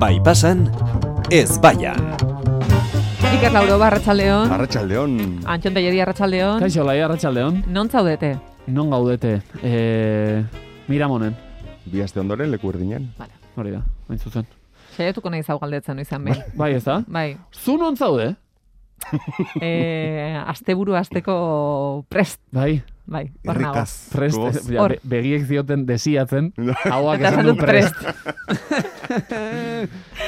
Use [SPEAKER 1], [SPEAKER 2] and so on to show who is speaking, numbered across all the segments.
[SPEAKER 1] Bai pasan, ez baian.
[SPEAKER 2] Iker Lauro Barratxaldeon,
[SPEAKER 3] Arratxaldeon.
[SPEAKER 2] Antxon Telleri Arratxaldeon,
[SPEAKER 4] Ah. Kaixo, lai, arratsaldeon.
[SPEAKER 2] non zaudete?
[SPEAKER 4] Non gaudete? E, miramonen,
[SPEAKER 3] Bi aste ondoren leku erdinean.
[SPEAKER 4] hori da, hain zuzen.
[SPEAKER 2] Saiatuko nahi zau galdetzen izan behin.
[SPEAKER 4] Bai, ez da?
[SPEAKER 2] Bai,
[SPEAKER 4] Zu non zaude?
[SPEAKER 2] e, asteburu asteko prest,
[SPEAKER 4] Bai,
[SPEAKER 2] bai, hor nago.
[SPEAKER 3] Irrikaz.
[SPEAKER 4] prest,
[SPEAKER 3] Gogoz.
[SPEAKER 4] ja,
[SPEAKER 2] Hor.
[SPEAKER 4] be- begiek zioten desiatzen,
[SPEAKER 2] Eta
[SPEAKER 4] hauak Bai, esan
[SPEAKER 2] esan
[SPEAKER 4] du
[SPEAKER 2] dut prest,
[SPEAKER 4] prest.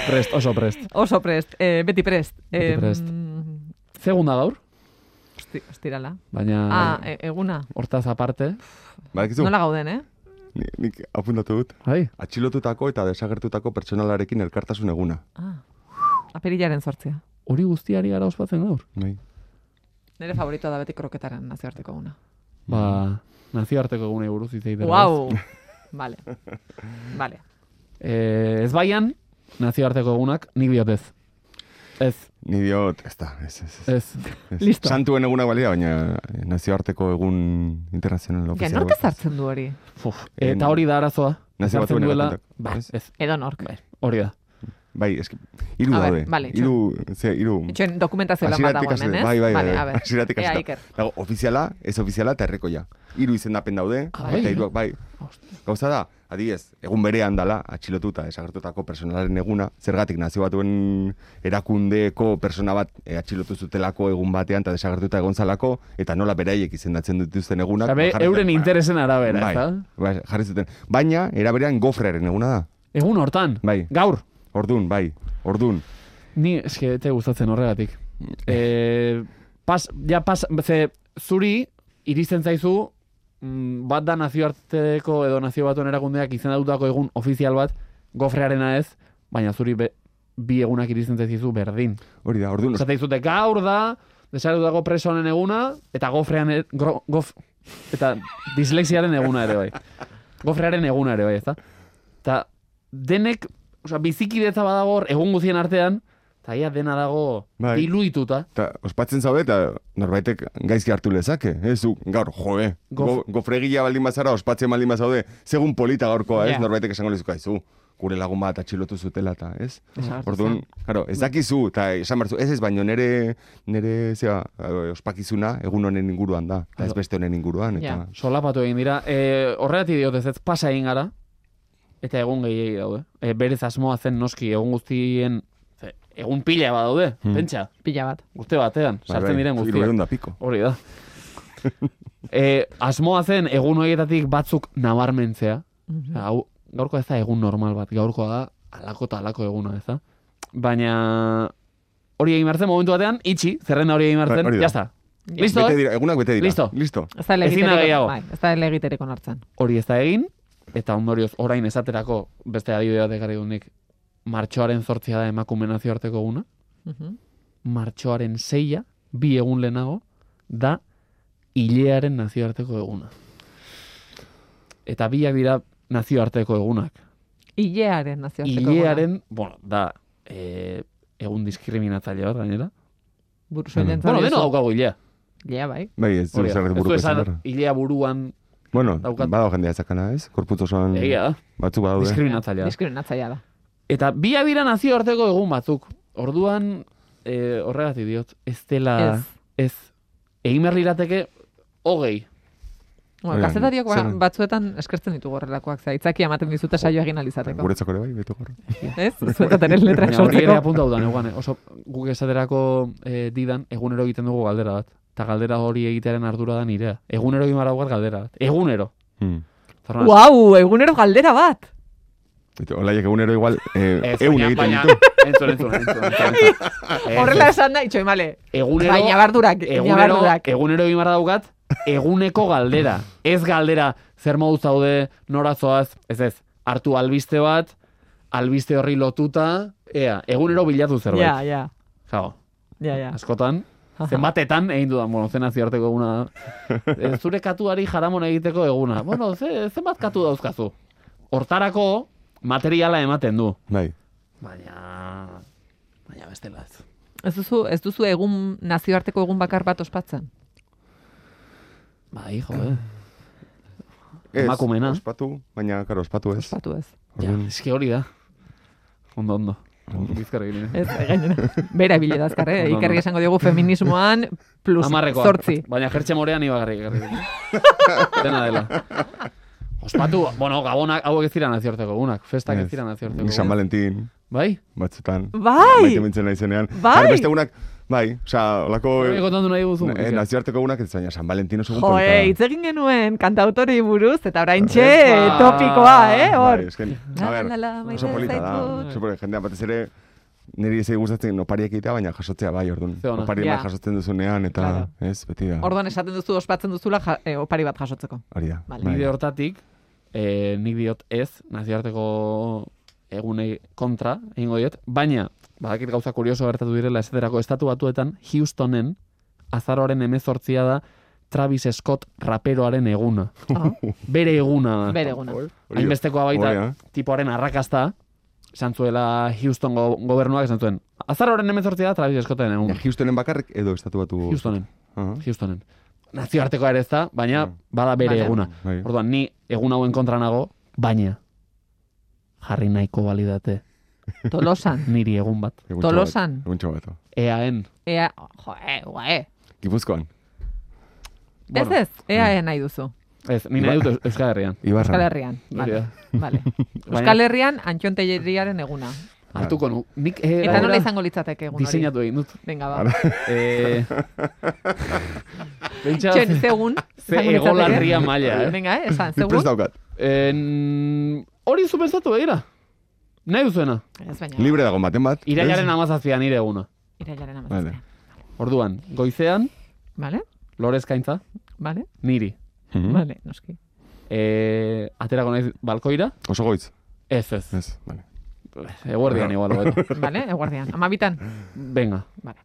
[SPEAKER 4] Prest, oso prest.
[SPEAKER 2] oso prest, e, beti prest.
[SPEAKER 4] Beti
[SPEAKER 2] Em,
[SPEAKER 4] prest. Segunda gaur,
[SPEAKER 2] osti- Ostirala.
[SPEAKER 4] baina
[SPEAKER 2] Ah, e, eguna.
[SPEAKER 4] hortaz aparte.
[SPEAKER 3] Badakizu,
[SPEAKER 2] Nola gauden, eh?
[SPEAKER 3] ni- nik apuntatu dut.
[SPEAKER 4] Bai,
[SPEAKER 3] Atxilotutako eta desagertutako pertsonalarekin elkartasun eguna.
[SPEAKER 2] Ah, apirilaren sortzia.
[SPEAKER 4] hori guztiari gara ospatzen gaur.
[SPEAKER 3] Bai.
[SPEAKER 2] Nere favoritoa da beti kroketaren nazioarteko eguna.
[SPEAKER 4] Ba, nazioarteko egunei buruz hitz egiten.
[SPEAKER 2] Wow! Vale. Vale.
[SPEAKER 4] E, ez baian, nazioarteko egunak nik diot ez. Ez,
[SPEAKER 3] Ni diot, ez da, ez, ez, ez.
[SPEAKER 4] ez.
[SPEAKER 3] ez.
[SPEAKER 4] Eh, listo.
[SPEAKER 3] Santuen egunak balia, baina eh, nazioarteko egun internazional
[SPEAKER 2] Ja,
[SPEAKER 3] ofizial.
[SPEAKER 2] nork ezartzen du hori?
[SPEAKER 4] Uf, eta hori da arazoa.
[SPEAKER 3] Nazio
[SPEAKER 4] ezartzen
[SPEAKER 3] batuen
[SPEAKER 4] duela-
[SPEAKER 3] erakundeak.
[SPEAKER 4] Ba,
[SPEAKER 3] Ez?
[SPEAKER 4] ez,
[SPEAKER 2] Edo nork.
[SPEAKER 4] bai, hori da.
[SPEAKER 3] Bai, eski, hiru
[SPEAKER 2] A ber,
[SPEAKER 3] daude.
[SPEAKER 2] vale, itxo.
[SPEAKER 3] hiru, ze, hiru.
[SPEAKER 2] Itxoen dokumentazio lan bat
[SPEAKER 3] Hasieratik
[SPEAKER 2] dago
[SPEAKER 3] hasi-
[SPEAKER 2] hemen, ez?
[SPEAKER 3] Bai, bai,
[SPEAKER 2] vale,
[SPEAKER 3] bai,
[SPEAKER 2] a ber.
[SPEAKER 3] hasieratik
[SPEAKER 2] Ea,
[SPEAKER 3] hasita.
[SPEAKER 2] Iker.
[SPEAKER 3] Dago, ofiziala, ez ofiziala eta herrikoia. Hiru izendapen daude,
[SPEAKER 4] Ah,
[SPEAKER 3] eta
[SPEAKER 4] bai.
[SPEAKER 3] hiruak, bai. Gauza da, adibidez, egun berean dala, atxilotuta desagertutako personalaren eguna, zergatik nazio batuen erakundeeko persona bat eh, atxilotu zutelako egun batean eta desagertuta egon zalako, eta nola beraiek izendatzen dituzten egunak.
[SPEAKER 4] Zabe,
[SPEAKER 3] ba, jarri
[SPEAKER 4] euren
[SPEAKER 3] zuten-
[SPEAKER 4] interesen arabera,
[SPEAKER 3] bai,
[SPEAKER 4] ezta?
[SPEAKER 3] bai, jarri zuten. Baina, eraberean gofrearen eguna da.
[SPEAKER 4] Egun hortan,
[SPEAKER 3] Bai.
[SPEAKER 4] gaur.
[SPEAKER 3] Ordun, bai, ordun.
[SPEAKER 4] Ni eske te gustatzen horregatik.
[SPEAKER 3] Eh.
[SPEAKER 4] E, pas, ja pas, ze, zuri iristen zaizu mm, bat da nazioarteko edo nazio batuen erakundeak izendatutako egun ofizial bat, gofrearena ez, baina zuri be, bi egunak iristen zaizu berdin.
[SPEAKER 3] Hori da, ordun.
[SPEAKER 4] Esate dizute gaur da, desagertutako preso honen eguna, eta gofrean, e- gro, gof, eta dislexiaren eguna ere bai. Gofrearen eguna ere bai, ezta? Eta denek, osea, bizikidetza badago hor, egun guztien artean, eta ia dena dago
[SPEAKER 3] Bai.
[SPEAKER 4] diluituta.
[SPEAKER 3] Eta ospatzen zaude eta norbaitek gaizki hartu lezake. Ez du, gaur, jo, eh.
[SPEAKER 4] Gof-
[SPEAKER 3] Go, gofregila baldin bazara, ospatzen baldin bazaude, segun polita gaurkoa, ez?
[SPEAKER 2] Ja.
[SPEAKER 3] Norbaitek esango lezuka, izu, gure lagun bat atxilotu zutela eta, ez?
[SPEAKER 4] Desagertu
[SPEAKER 3] Orduan, claro, ez dakizu, eta esan behar zu, ez ez, baino nere, nere, zera, eh, ospakizuna egun honen inguruan da, eta ez
[SPEAKER 4] Claro.
[SPEAKER 3] beste honen inguruan, eta... bai,
[SPEAKER 2] Ja.
[SPEAKER 4] Solapatu egin dira. E, horregatik diot ez ez pasa egin gara, eta egun gehiegi daude. E, berez asmoa zen noski, egun guztien, ze, egun pila badaude, pentsa,
[SPEAKER 2] Pila bat.
[SPEAKER 4] urte batean,
[SPEAKER 3] Bai,
[SPEAKER 4] sartzen diren guztiak.
[SPEAKER 3] Irurehun da piko.
[SPEAKER 4] Hori da. e, asmoa zen egun horietatik batzuk nabarmentzea.
[SPEAKER 3] Mhm.
[SPEAKER 4] Hau, gaurko ez da egun normal bat, gaurkoa da alako eta alako eguna, ez da? Baina hori egin behar zen, momentu batean, itxi, zerrenda hori egin behar
[SPEAKER 3] Ba, hori
[SPEAKER 4] zen,
[SPEAKER 3] da.
[SPEAKER 4] jazta. Listo,
[SPEAKER 3] Bete
[SPEAKER 4] eh?
[SPEAKER 3] dira, egunak bete dira.
[SPEAKER 4] Listo.
[SPEAKER 3] Listo.
[SPEAKER 2] Ez da
[SPEAKER 4] Ezin da
[SPEAKER 2] elegiteriko,
[SPEAKER 4] gehiago.
[SPEAKER 2] bai, ez da elegiteriko nortzen.
[SPEAKER 4] hori ez da egin, eta ondorioz orain esaterako beste adibide bat ekarri dut nik, martxoaren zortzia da emakume nazioarteko eguna,
[SPEAKER 2] Mhm.
[SPEAKER 4] martxoaren seia, bi egun lehenago, da hilearen nazioarteko eguna. Eta biak dira nazioarteko egunak.
[SPEAKER 2] Ilearen nazioarteko eguna.
[SPEAKER 4] Hilearen, bueno, da e, egun diskriminatzaile bat gainera.
[SPEAKER 2] Buru
[SPEAKER 3] Mhm.
[SPEAKER 4] Bueno, deno daukagu hilea.
[SPEAKER 2] Ilea, bai.
[SPEAKER 3] Bai, ez du
[SPEAKER 4] Hori da.
[SPEAKER 3] zerret
[SPEAKER 4] Ez du
[SPEAKER 3] buruko izan
[SPEAKER 4] esan
[SPEAKER 3] behar.
[SPEAKER 4] hilea buruan
[SPEAKER 3] Bueno,
[SPEAKER 4] daukat-
[SPEAKER 3] badago jendea ezakana, ez? Korputz osoan
[SPEAKER 4] egia da,
[SPEAKER 3] batzuk badaude.
[SPEAKER 4] diskriminatzailea.
[SPEAKER 2] Diskriminatzaia da.
[SPEAKER 4] Eta bi abira nazioarteko egun batzuk. Orduan, e, horregatik diot, ez dela...
[SPEAKER 2] Ez.
[SPEAKER 4] Ez. Egin behar lirateke, hogei.
[SPEAKER 2] Bueno,
[SPEAKER 3] Hori da,
[SPEAKER 2] kazetariok ba-
[SPEAKER 3] zer-
[SPEAKER 2] batzuetan eskertzen ditugu horrelakoak, ze aitzaki ematen dizute saio egin alizateko.
[SPEAKER 3] Guretzako ere bai, bete gaur.
[SPEAKER 2] Ez? Zuetataren letrak
[SPEAKER 4] Baina hori ere
[SPEAKER 2] sortzeko.
[SPEAKER 4] apunta dudan, eguan, eh. oso guk esaterako eh, didan, egunero egiten dugu galdera bat. Eta galdera hori egitearen ardura da nirea. Egunero egin behar daukat galdera bat. Egunero.
[SPEAKER 3] Hmm.
[SPEAKER 4] Fernando,
[SPEAKER 2] Wow, egunero galdera bat.
[SPEAKER 3] Eta Olaiek egunero igual, eh,
[SPEAKER 4] ez,
[SPEAKER 3] egun
[SPEAKER 4] baina-
[SPEAKER 3] egiten
[SPEAKER 4] baina-
[SPEAKER 3] ditu.
[SPEAKER 4] Entzun, entzun, entzun. entzun, entzun.
[SPEAKER 2] Horrela
[SPEAKER 4] Ez,
[SPEAKER 2] esan da, itxoi, male.
[SPEAKER 4] ez. Egunero,
[SPEAKER 2] Bai, nabardurak,
[SPEAKER 4] egunero,
[SPEAKER 2] nabardurak.
[SPEAKER 4] egunero egin behar daukat, eguneko galdera. Ez galdera, zer moduz zaude, norazoaz, ez ez. Hartu albiste bat, albiste horri lotuta, ea, egunero bilatu zerbait.
[SPEAKER 2] Ja, ja,
[SPEAKER 4] Jago,
[SPEAKER 2] ja, ja.
[SPEAKER 4] askotan, zenbatetan egin dudan, bueno, zen nazioarteko eguna da. E, Zure katuari jaramon egiteko eguna. Bueno, ze, zenbat katu dauzkazu? Hortarako materiala ematen du.
[SPEAKER 3] Bai.
[SPEAKER 4] Baina, baina bestela ez.
[SPEAKER 2] Ez duzu, ez duzu egun nazioarteko egun bakar bat ospatzen.
[SPEAKER 4] Bai, jo, eh.
[SPEAKER 3] Ez,
[SPEAKER 4] Emakumeena.
[SPEAKER 3] Ospatu, baina, karo, ospatu ez.
[SPEAKER 2] Ospatu ez.
[SPEAKER 4] Ja,
[SPEAKER 3] Orduan,
[SPEAKER 4] eski hori da. Ondo, ondo. Bizkarra egin. eh?
[SPEAKER 2] Ez, gainera. Bera ibili da azkar, eh?
[SPEAKER 4] No, no,
[SPEAKER 2] Ikerri
[SPEAKER 4] no.
[SPEAKER 2] esango diogu feminismoan plus
[SPEAKER 4] Hamarrekoa.
[SPEAKER 2] zortzi.
[SPEAKER 4] Baina jertxe morean ibagarri gerri. Dena dela. Ospatu, bueno, gabonak, hauek ez dira naziorteko gunak, festak ez
[SPEAKER 3] Ez.
[SPEAKER 4] dira naziorteko
[SPEAKER 3] San
[SPEAKER 4] gunak.
[SPEAKER 3] Valentin,
[SPEAKER 4] Bai?
[SPEAKER 3] batzutan.
[SPEAKER 2] Bai!
[SPEAKER 3] Maitemintzen naizenean.
[SPEAKER 2] Bai!
[SPEAKER 3] Bai! Beste gunak, bai, osea, olako...
[SPEAKER 4] Hori kontatu nahi guzu.
[SPEAKER 3] Eh, nazioarteko gunak ez baina San Valentin
[SPEAKER 2] Jo,
[SPEAKER 3] oso gupolita.
[SPEAKER 2] eh, hitz egin genuen kantautori buruz, eta orain txe
[SPEAKER 4] Epa!
[SPEAKER 2] topikoa, eh, hor.
[SPEAKER 3] Bai, esken,
[SPEAKER 2] La,
[SPEAKER 3] a ber,
[SPEAKER 2] la, la, maite
[SPEAKER 3] oso polita da.
[SPEAKER 2] zaitut.
[SPEAKER 3] Oso polita, jendea, batez ere, niri ez gustatzen opariak egitea, baina jasotzea bai, orduan.
[SPEAKER 4] Ze ona.
[SPEAKER 3] Opari
[SPEAKER 2] Ja.
[SPEAKER 3] yeah. jasotzen duzunean, eta
[SPEAKER 2] Claro.
[SPEAKER 3] ez, beti da.
[SPEAKER 2] Orduan esaten duzu, ospatzen duzula ja, eh, opari bat jasotzeko.
[SPEAKER 3] Hori da. Bai.
[SPEAKER 2] Vale.
[SPEAKER 4] Bide hortatik, eh, nik diot ez, nazioarteko egunei kontra, egingo diot, baina, badakit gauza kurioso gertatu direla esaterako estatu batuetan, Houstonen, azaroaren emezortzia da, Travis Scott raperoaren eguna.
[SPEAKER 2] Ah,
[SPEAKER 4] Bere eguna da.
[SPEAKER 2] Oh, bere eguna.
[SPEAKER 3] Hori da.
[SPEAKER 4] Hainbestekoa baita,
[SPEAKER 3] Hori eh. da.
[SPEAKER 4] tipoaren arrakasta, santzuela Houston go gobernuak esantzuen. Azaroaren emezortzia da Travis Scotten egun.
[SPEAKER 3] Ja, Houstonen bakarrik edo estatu batu...
[SPEAKER 4] Houstonen,
[SPEAKER 3] Aha.
[SPEAKER 4] Houstonen. Nazioartekoa ere ez da, baina
[SPEAKER 3] Mm.
[SPEAKER 4] bada bere
[SPEAKER 2] Baina.
[SPEAKER 4] eguna.
[SPEAKER 3] Bai.
[SPEAKER 4] Orduan, ni egun hauen kontra nago, baina jarri nahiko balidate
[SPEAKER 2] Tolosan.
[SPEAKER 4] niri egun bat.
[SPEAKER 3] Egun
[SPEAKER 2] Tolosan.
[SPEAKER 3] txabat- oh. Egun txabato.
[SPEAKER 4] Eaen.
[SPEAKER 2] Ea, jo, e, ua, e.
[SPEAKER 3] Gipuzkoan.
[SPEAKER 2] Ez
[SPEAKER 4] Bueno, Mm.
[SPEAKER 2] ez, ea ea nahi duzu.
[SPEAKER 4] Ez, ni nahi dut Eus- Euskal Herrian.
[SPEAKER 3] Ibarra.
[SPEAKER 2] Euskal Herrian. Vale,
[SPEAKER 4] Hori
[SPEAKER 2] vale.
[SPEAKER 4] Baina-
[SPEAKER 2] Euskal Herrian Antion Telleriaren eguna.
[SPEAKER 4] Hartuko nu. Nik eh,
[SPEAKER 2] Eta nola
[SPEAKER 4] gainera
[SPEAKER 2] izango litzateke egun hori?
[SPEAKER 4] Diseinatu egin dut.
[SPEAKER 2] Venga, ba.
[SPEAKER 4] Eh, Pentsa,
[SPEAKER 2] Txen, zegun.
[SPEAKER 4] ze egolarria maila, eh?
[SPEAKER 2] Venga, eh, esan,
[SPEAKER 3] Ni prest
[SPEAKER 2] zegun.
[SPEAKER 3] daukat.
[SPEAKER 4] En, hori zu pentsatu begira. Nahi duzuena.
[SPEAKER 2] Ez baina,
[SPEAKER 3] Libre dago baten bat.
[SPEAKER 4] Irailaren
[SPEAKER 3] ez?
[SPEAKER 4] amazazpian nire eguna.
[SPEAKER 2] irailaren amazazpia.
[SPEAKER 3] Vale.
[SPEAKER 4] Orduan, goizean,
[SPEAKER 2] Vale,
[SPEAKER 4] lorezkaintza,
[SPEAKER 2] vale,
[SPEAKER 4] niri.
[SPEAKER 3] Mhm.
[SPEAKER 2] vale, noski.
[SPEAKER 4] Eh, aterako naiz balkoira?
[SPEAKER 3] Oso goiz.
[SPEAKER 4] Ez, ez.
[SPEAKER 3] Ez, vale.
[SPEAKER 4] Eguerdian igual, hobeto.
[SPEAKER 2] Vale, eguardian. Amabitan.
[SPEAKER 4] Venga.
[SPEAKER 2] Vale.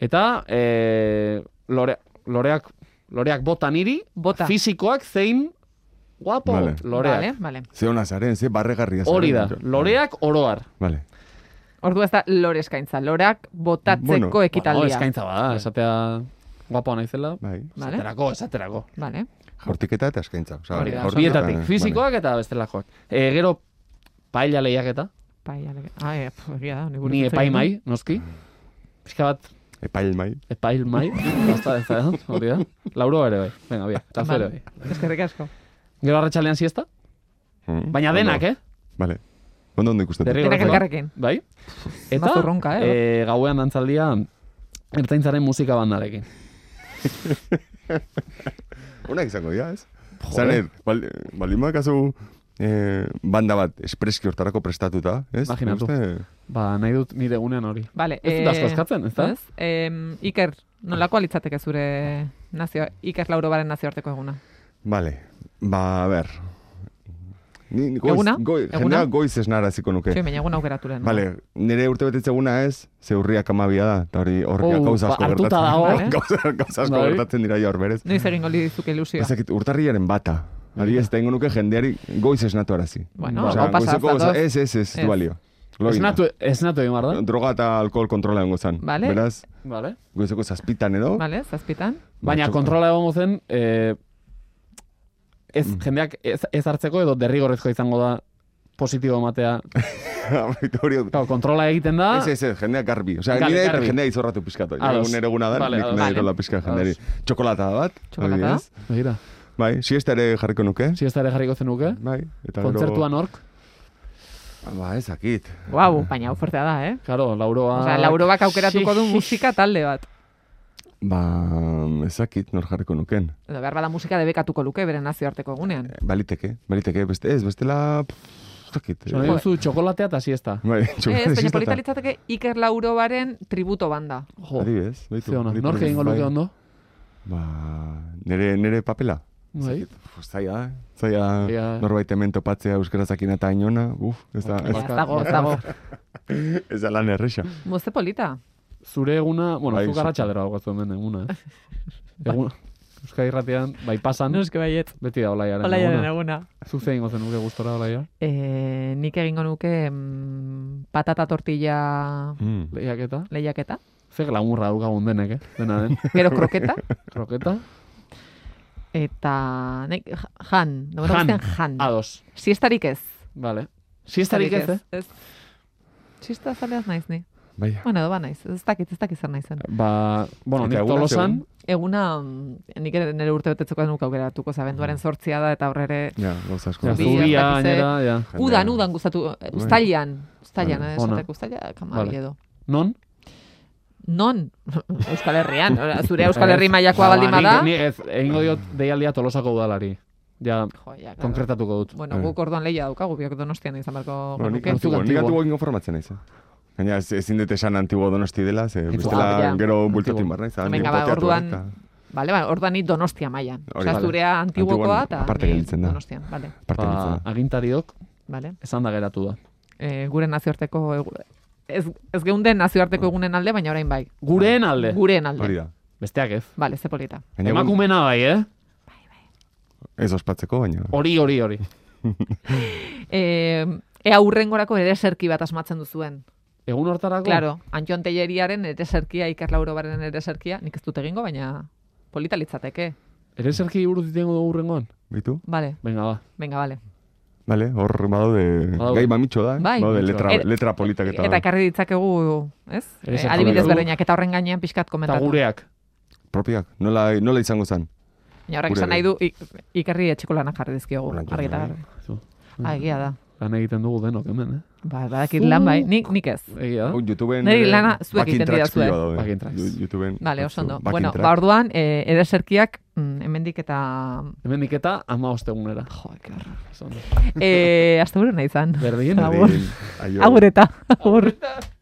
[SPEAKER 4] Eta eh, lore, loreak, loreak bota niri,
[SPEAKER 2] Bota.
[SPEAKER 4] fisikoak zein guapo
[SPEAKER 3] Vale.
[SPEAKER 4] loreak.
[SPEAKER 2] Vale, vale.
[SPEAKER 3] Ze hona zaren, ze barregarria zaren.
[SPEAKER 4] Hori da, loreak oroar.
[SPEAKER 3] Vale.
[SPEAKER 2] Ordu ez da lore eskaintza. Lorak botatzeko
[SPEAKER 3] Bueno,
[SPEAKER 4] Bueno,
[SPEAKER 2] ekitaldia.
[SPEAKER 4] Ba, oh, eskaintza bada, esatea guapoa naizela.
[SPEAKER 3] Bai.
[SPEAKER 2] vale,
[SPEAKER 4] Esaterako, esaterako.
[SPEAKER 2] vale.
[SPEAKER 3] Jaurtiketa eta eskaintza. Osa,
[SPEAKER 2] Hori da,
[SPEAKER 3] jaurtiketa,
[SPEAKER 4] Bietatik,
[SPEAKER 3] eh,
[SPEAKER 4] fisikoak eta bestelakoak. E, gero, paella lehiaketa,
[SPEAKER 2] Pai, ale... Ah, eh, pf, egia da, buruz
[SPEAKER 4] ni
[SPEAKER 2] hitz
[SPEAKER 4] epai
[SPEAKER 2] egin dut.
[SPEAKER 4] mai, noski. Pixka bat,
[SPEAKER 3] Vale. Epail mai.
[SPEAKER 4] epail mai, basta ez da, hori da. Lauro ere bai, venga, bia, eta zu ere
[SPEAKER 2] Vale.
[SPEAKER 4] bai.
[SPEAKER 2] Eskerrik asko.
[SPEAKER 4] Gero arratxalean siesta,
[SPEAKER 3] Mhm.
[SPEAKER 4] baina denak, eh?
[SPEAKER 3] Vale. Ondo ondo ikusten. dut.
[SPEAKER 4] Derri-
[SPEAKER 2] Denak
[SPEAKER 4] Horrekin.
[SPEAKER 2] elkarrekin.
[SPEAKER 4] Bai? Eta
[SPEAKER 2] Mazurronka, eh?
[SPEAKER 4] eh, gauean antzaldia ertaintzaren musika bandarekin.
[SPEAKER 3] Onak izango dira, ez?
[SPEAKER 4] Joder.
[SPEAKER 3] Zaner, bal, baldin badakazu, eh, banda bat espreski hortarako prestatuta, ez?
[SPEAKER 4] Imaginatu.
[SPEAKER 3] Uste,
[SPEAKER 4] Ba, nahi dut nire egunean hori.
[SPEAKER 2] Vale, eh,
[SPEAKER 4] Ez dut asko eskatzen, ez da?
[SPEAKER 2] Ez? Em, Iker, nolakoa litzateke zure nazio, Iker Laurobaren nazioarteko eguna?
[SPEAKER 3] Eh. Vale. Ba, a ber. Ni, ni goiz,
[SPEAKER 2] Eguna?
[SPEAKER 3] Goi,
[SPEAKER 2] Eguna?
[SPEAKER 3] jendea goiz esnaraziko nuke.
[SPEAKER 2] Zue, baina egun aukeratu lehen.
[SPEAKER 3] Vale, nire urte betetzeguna ez, zeurriak amabia da, eta hori horri
[SPEAKER 2] Uh,
[SPEAKER 4] Oh,
[SPEAKER 3] gauza
[SPEAKER 4] ba,
[SPEAKER 3] asko
[SPEAKER 4] hartuta
[SPEAKER 3] gertatzen.
[SPEAKER 4] dago.
[SPEAKER 2] Vale.
[SPEAKER 3] Gauza, gauza asko
[SPEAKER 4] Bai.
[SPEAKER 3] gertatzen dira ja hor berez.
[SPEAKER 2] Noiz egingo litzuk ilusioa.
[SPEAKER 3] Ezakit, urtarriaren bata. Ari ez, tengo nuke jendeari goiz esnatu arazi.
[SPEAKER 2] Bueno,
[SPEAKER 4] Ba,
[SPEAKER 2] hau pasa,
[SPEAKER 3] goizeko gauza-
[SPEAKER 2] zatoz.
[SPEAKER 3] ez, ez, ez,
[SPEAKER 2] Ez. eh?
[SPEAKER 3] du balio. Lo egin da.
[SPEAKER 4] Esnatu, esnatu egin behar da.
[SPEAKER 3] Droga eta alkohol kontrola egongo zan.
[SPEAKER 2] Vale.
[SPEAKER 3] Beraz,
[SPEAKER 4] Vale.
[SPEAKER 3] goizeko zazpitan edo.
[SPEAKER 2] Vale, zazpitan.
[SPEAKER 4] Baina
[SPEAKER 3] Batxo-
[SPEAKER 4] kontrola egongo zen, eh, ez,
[SPEAKER 3] Mm.
[SPEAKER 4] jendeak ez, ez hartzeko edo derrigorrezko izango da positibo ematea.
[SPEAKER 3] Hori-
[SPEAKER 4] Claro, kontrola egiten da.
[SPEAKER 3] Ez, ez, ez, jendea garbi. Osea,
[SPEAKER 4] Ah. Garbi,
[SPEAKER 3] nire
[SPEAKER 4] garbi.
[SPEAKER 3] jendea izorratu pizkatu.
[SPEAKER 4] Ados.
[SPEAKER 3] Egun ere guna da,
[SPEAKER 4] Vale,
[SPEAKER 3] nik
[SPEAKER 4] ados.
[SPEAKER 3] nahi
[SPEAKER 2] Vale.
[SPEAKER 3] dola pizka jendeari. Txokolatada bat.
[SPEAKER 2] Txokolatada.
[SPEAKER 3] adibidez.
[SPEAKER 4] Begira,
[SPEAKER 3] Bai, siesta ere jarriko nuke.
[SPEAKER 4] siesta ere jarriko zenuke.
[SPEAKER 3] Bai, eta gero-
[SPEAKER 4] Kontzertuan ork.
[SPEAKER 3] Ba, ezakit.
[SPEAKER 2] Guau, baina hau fuertea da, eh?
[SPEAKER 4] Karo, lauroa...
[SPEAKER 2] Osea, Laurobak aukeratuko du musika talde bat.
[SPEAKER 3] Ba, ezakit nor jarriko nuken.
[SPEAKER 2] Edo behar bada musika debekatuko luke, bere nazioarteko egunean. Eh,
[SPEAKER 3] Baliteke, baliteke, beste, ez, bestela... pff, Ezakit.
[SPEAKER 4] Zona Bai. duzu txokolatea eta siesta.
[SPEAKER 3] Bai,
[SPEAKER 2] Ez, baina polita
[SPEAKER 3] politalitza.
[SPEAKER 2] litzateke Iker Laurobaren tributo banda.
[SPEAKER 4] Jo,
[SPEAKER 3] Adibidez, baitu.
[SPEAKER 4] ze ona.
[SPEAKER 3] baitu,
[SPEAKER 4] Nork egingo luke
[SPEAKER 3] bai.
[SPEAKER 4] ondo?
[SPEAKER 3] Ba, nire, nire papela.
[SPEAKER 4] Bai.
[SPEAKER 3] Uf, Zaila, da, eh?
[SPEAKER 4] Zaila,
[SPEAKER 3] zaila da.
[SPEAKER 4] eh?
[SPEAKER 3] norbait hemen topatzea euskarazakin eta inona, uf, ez da,
[SPEAKER 2] Ez
[SPEAKER 3] ez,
[SPEAKER 2] dago, ez dago.
[SPEAKER 3] ez da lan erresa.
[SPEAKER 2] Mozte polita.
[SPEAKER 4] Zure eguna, bueno,
[SPEAKER 3] Bai,
[SPEAKER 4] zuk
[SPEAKER 3] zu-
[SPEAKER 4] arratxaldera daukatzu hemen eguna, eh? Eguna. Euskadi irratian, bai pasan,
[SPEAKER 2] Noske baiet.
[SPEAKER 4] beti da olaiaren
[SPEAKER 2] Olaiaren
[SPEAKER 4] eguna.
[SPEAKER 2] eguna.
[SPEAKER 4] Zuk zein gozen nuke gustora olaia?
[SPEAKER 2] Eh, nik egingo nuke mm, patata tortilla
[SPEAKER 3] Mm.
[SPEAKER 4] Lehiaketa.
[SPEAKER 2] lehiaketa.
[SPEAKER 4] Ze glamurra daukagun denek, eh? Dena den.
[SPEAKER 2] Gero kroketa.
[SPEAKER 4] Kroketa.
[SPEAKER 2] Eta nek, jan, no
[SPEAKER 4] Jan.
[SPEAKER 2] Mm. jan. jan.
[SPEAKER 4] Ados.
[SPEAKER 2] Siestarik ez.
[SPEAKER 4] Vale. Siestarik ez, eh?
[SPEAKER 2] ez. Txista zaleaz naiz ni.
[SPEAKER 3] Bai.
[SPEAKER 2] Bueno, edo ba naiz. Ez dakit, ez dakit zer naizen.
[SPEAKER 4] Ba, bueno,
[SPEAKER 3] Eta
[SPEAKER 4] nik
[SPEAKER 3] eguna
[SPEAKER 4] tolosan,
[SPEAKER 3] segun.
[SPEAKER 2] Eguna, mm, nik ere nire urte betetzeko denuk aukeratuko zabenduaren
[SPEAKER 3] Mm.
[SPEAKER 2] sortzia da, eta horrere...
[SPEAKER 3] Ja, gauza asko.
[SPEAKER 4] ja,
[SPEAKER 2] Zubia,
[SPEAKER 4] zubia,
[SPEAKER 2] ez dakit ze-
[SPEAKER 4] gainera, ja.
[SPEAKER 3] Jendea. Bai.
[SPEAKER 2] Udan, udan gustatu, eh, ustailan, ustailan,
[SPEAKER 3] Vale.
[SPEAKER 2] eh,
[SPEAKER 4] Ona.
[SPEAKER 2] esateko ustaila, kamabi
[SPEAKER 4] Vale.
[SPEAKER 2] edo.
[SPEAKER 4] Non?
[SPEAKER 2] Non, Euskal Herrian, ora,
[SPEAKER 3] Eh,
[SPEAKER 2] zure Euskal Herri
[SPEAKER 3] Ba,
[SPEAKER 2] mailakoa baldin bada.
[SPEAKER 4] Ni ez, egingo diot deialdia tolosako udalari. Ja,
[SPEAKER 2] Jo, ja, claro.
[SPEAKER 4] konkretatuko dut.
[SPEAKER 2] Bueno, guk orduan leia daukagu, biok donostian izan barko
[SPEAKER 3] Bueno, nik
[SPEAKER 2] genuke.
[SPEAKER 4] antzu-
[SPEAKER 3] antiguo, nik
[SPEAKER 4] Antiguo.
[SPEAKER 3] antiguo informatzen naiz. eh. Gaina ez- ezin dut esan antiguo donosti dela, ze bestela
[SPEAKER 2] Ah, ja.
[SPEAKER 3] gero
[SPEAKER 4] Antiguo.
[SPEAKER 3] bultatin barra izan.
[SPEAKER 2] Venga, ba, orduan- Bale, ba, orduan ni donostia mailan.
[SPEAKER 3] Hori,
[SPEAKER 2] Osea,
[SPEAKER 3] vale.
[SPEAKER 2] zurea antiguokoa
[SPEAKER 3] Antiguoan
[SPEAKER 2] eta
[SPEAKER 3] aparte
[SPEAKER 2] ni
[SPEAKER 3] gelditzen da.
[SPEAKER 2] donostian, bale.
[SPEAKER 3] Parte
[SPEAKER 4] Ba,
[SPEAKER 3] ba,
[SPEAKER 4] agintariok
[SPEAKER 2] Bale.
[SPEAKER 4] esan da geratu da.
[SPEAKER 2] E, gure nazioarteko egu- ez, ez geunden nazioarteko egunen alde, baina orain bai.
[SPEAKER 4] Gureen alde.
[SPEAKER 2] Gureen alde.
[SPEAKER 3] Hori da.
[SPEAKER 4] Besteak ez.
[SPEAKER 2] Bale, ze polita.
[SPEAKER 3] Gaina egun-
[SPEAKER 4] Emakumena bai, eh?
[SPEAKER 3] Ez ospatzeko, baina.
[SPEAKER 4] Hori, hori, hori.
[SPEAKER 2] E, ea hurrengorako ere serki bat asmatzen duzuen.
[SPEAKER 4] Egun hortarako?
[SPEAKER 2] Claro, Antion Telleriaren ere serkia, Iker Laurobaren ere serkia, nik ez dut egingo, baina polita litzateke.
[SPEAKER 4] Ere zerki buruz itengo dugu urrengoan?
[SPEAKER 3] Bitu?
[SPEAKER 2] Bale,
[SPEAKER 4] Venga, ba.
[SPEAKER 2] venga, bale.
[SPEAKER 3] Bale, bai, hor badaude
[SPEAKER 4] Badaude.
[SPEAKER 3] gai mamitxo da, eh?
[SPEAKER 2] Bai.
[SPEAKER 3] badaude letra,
[SPEAKER 2] Er-
[SPEAKER 3] letra politak eta... bai.
[SPEAKER 2] Eta ekarri ditzakegu, ez?
[SPEAKER 4] Ere
[SPEAKER 2] E,
[SPEAKER 4] serki
[SPEAKER 2] adibidez
[SPEAKER 4] dugu.
[SPEAKER 2] berdinak eta horren gainean pixkat
[SPEAKER 4] Eta
[SPEAKER 2] komentatu.
[SPEAKER 4] gureak.
[SPEAKER 3] Propiak, nola, nola izango zen?
[SPEAKER 2] Baina horrek
[SPEAKER 3] Gure
[SPEAKER 2] esan nahi du, ik, ikerri etxeko lanak jarri dizkiogu,
[SPEAKER 3] Lan-
[SPEAKER 2] argi eta garbi.
[SPEAKER 4] Zu.
[SPEAKER 2] Ah, egia
[SPEAKER 3] Mm.
[SPEAKER 2] da.
[SPEAKER 4] Lan egiten dugu denok hemen, eh?
[SPEAKER 2] Ba, badakit lan bai, nik, nik ez.
[SPEAKER 4] Egia da.
[SPEAKER 3] Oh, YouTubeen...
[SPEAKER 2] Niri
[SPEAKER 3] eh,
[SPEAKER 2] lana zuek
[SPEAKER 3] backing
[SPEAKER 2] egiten
[SPEAKER 3] tracks
[SPEAKER 2] didazue.
[SPEAKER 3] pila daude.
[SPEAKER 4] Backing tracks.
[SPEAKER 3] Yo- YouTubeen...
[SPEAKER 2] Vale, oso ondo.
[SPEAKER 3] backing
[SPEAKER 2] Bueno,
[SPEAKER 3] track.
[SPEAKER 2] ba orduan, eh, ere serkiak, mm, hemendik eta...
[SPEAKER 4] Hemen diketa ama ostegunera.
[SPEAKER 2] Jo, ke horror.
[SPEAKER 4] Oso ondo. Bai.
[SPEAKER 2] Eh, hasta buru nahi izan.
[SPEAKER 4] Berdin.
[SPEAKER 2] Agur.
[SPEAKER 3] Berdin, aio.
[SPEAKER 2] Agur eta, agur.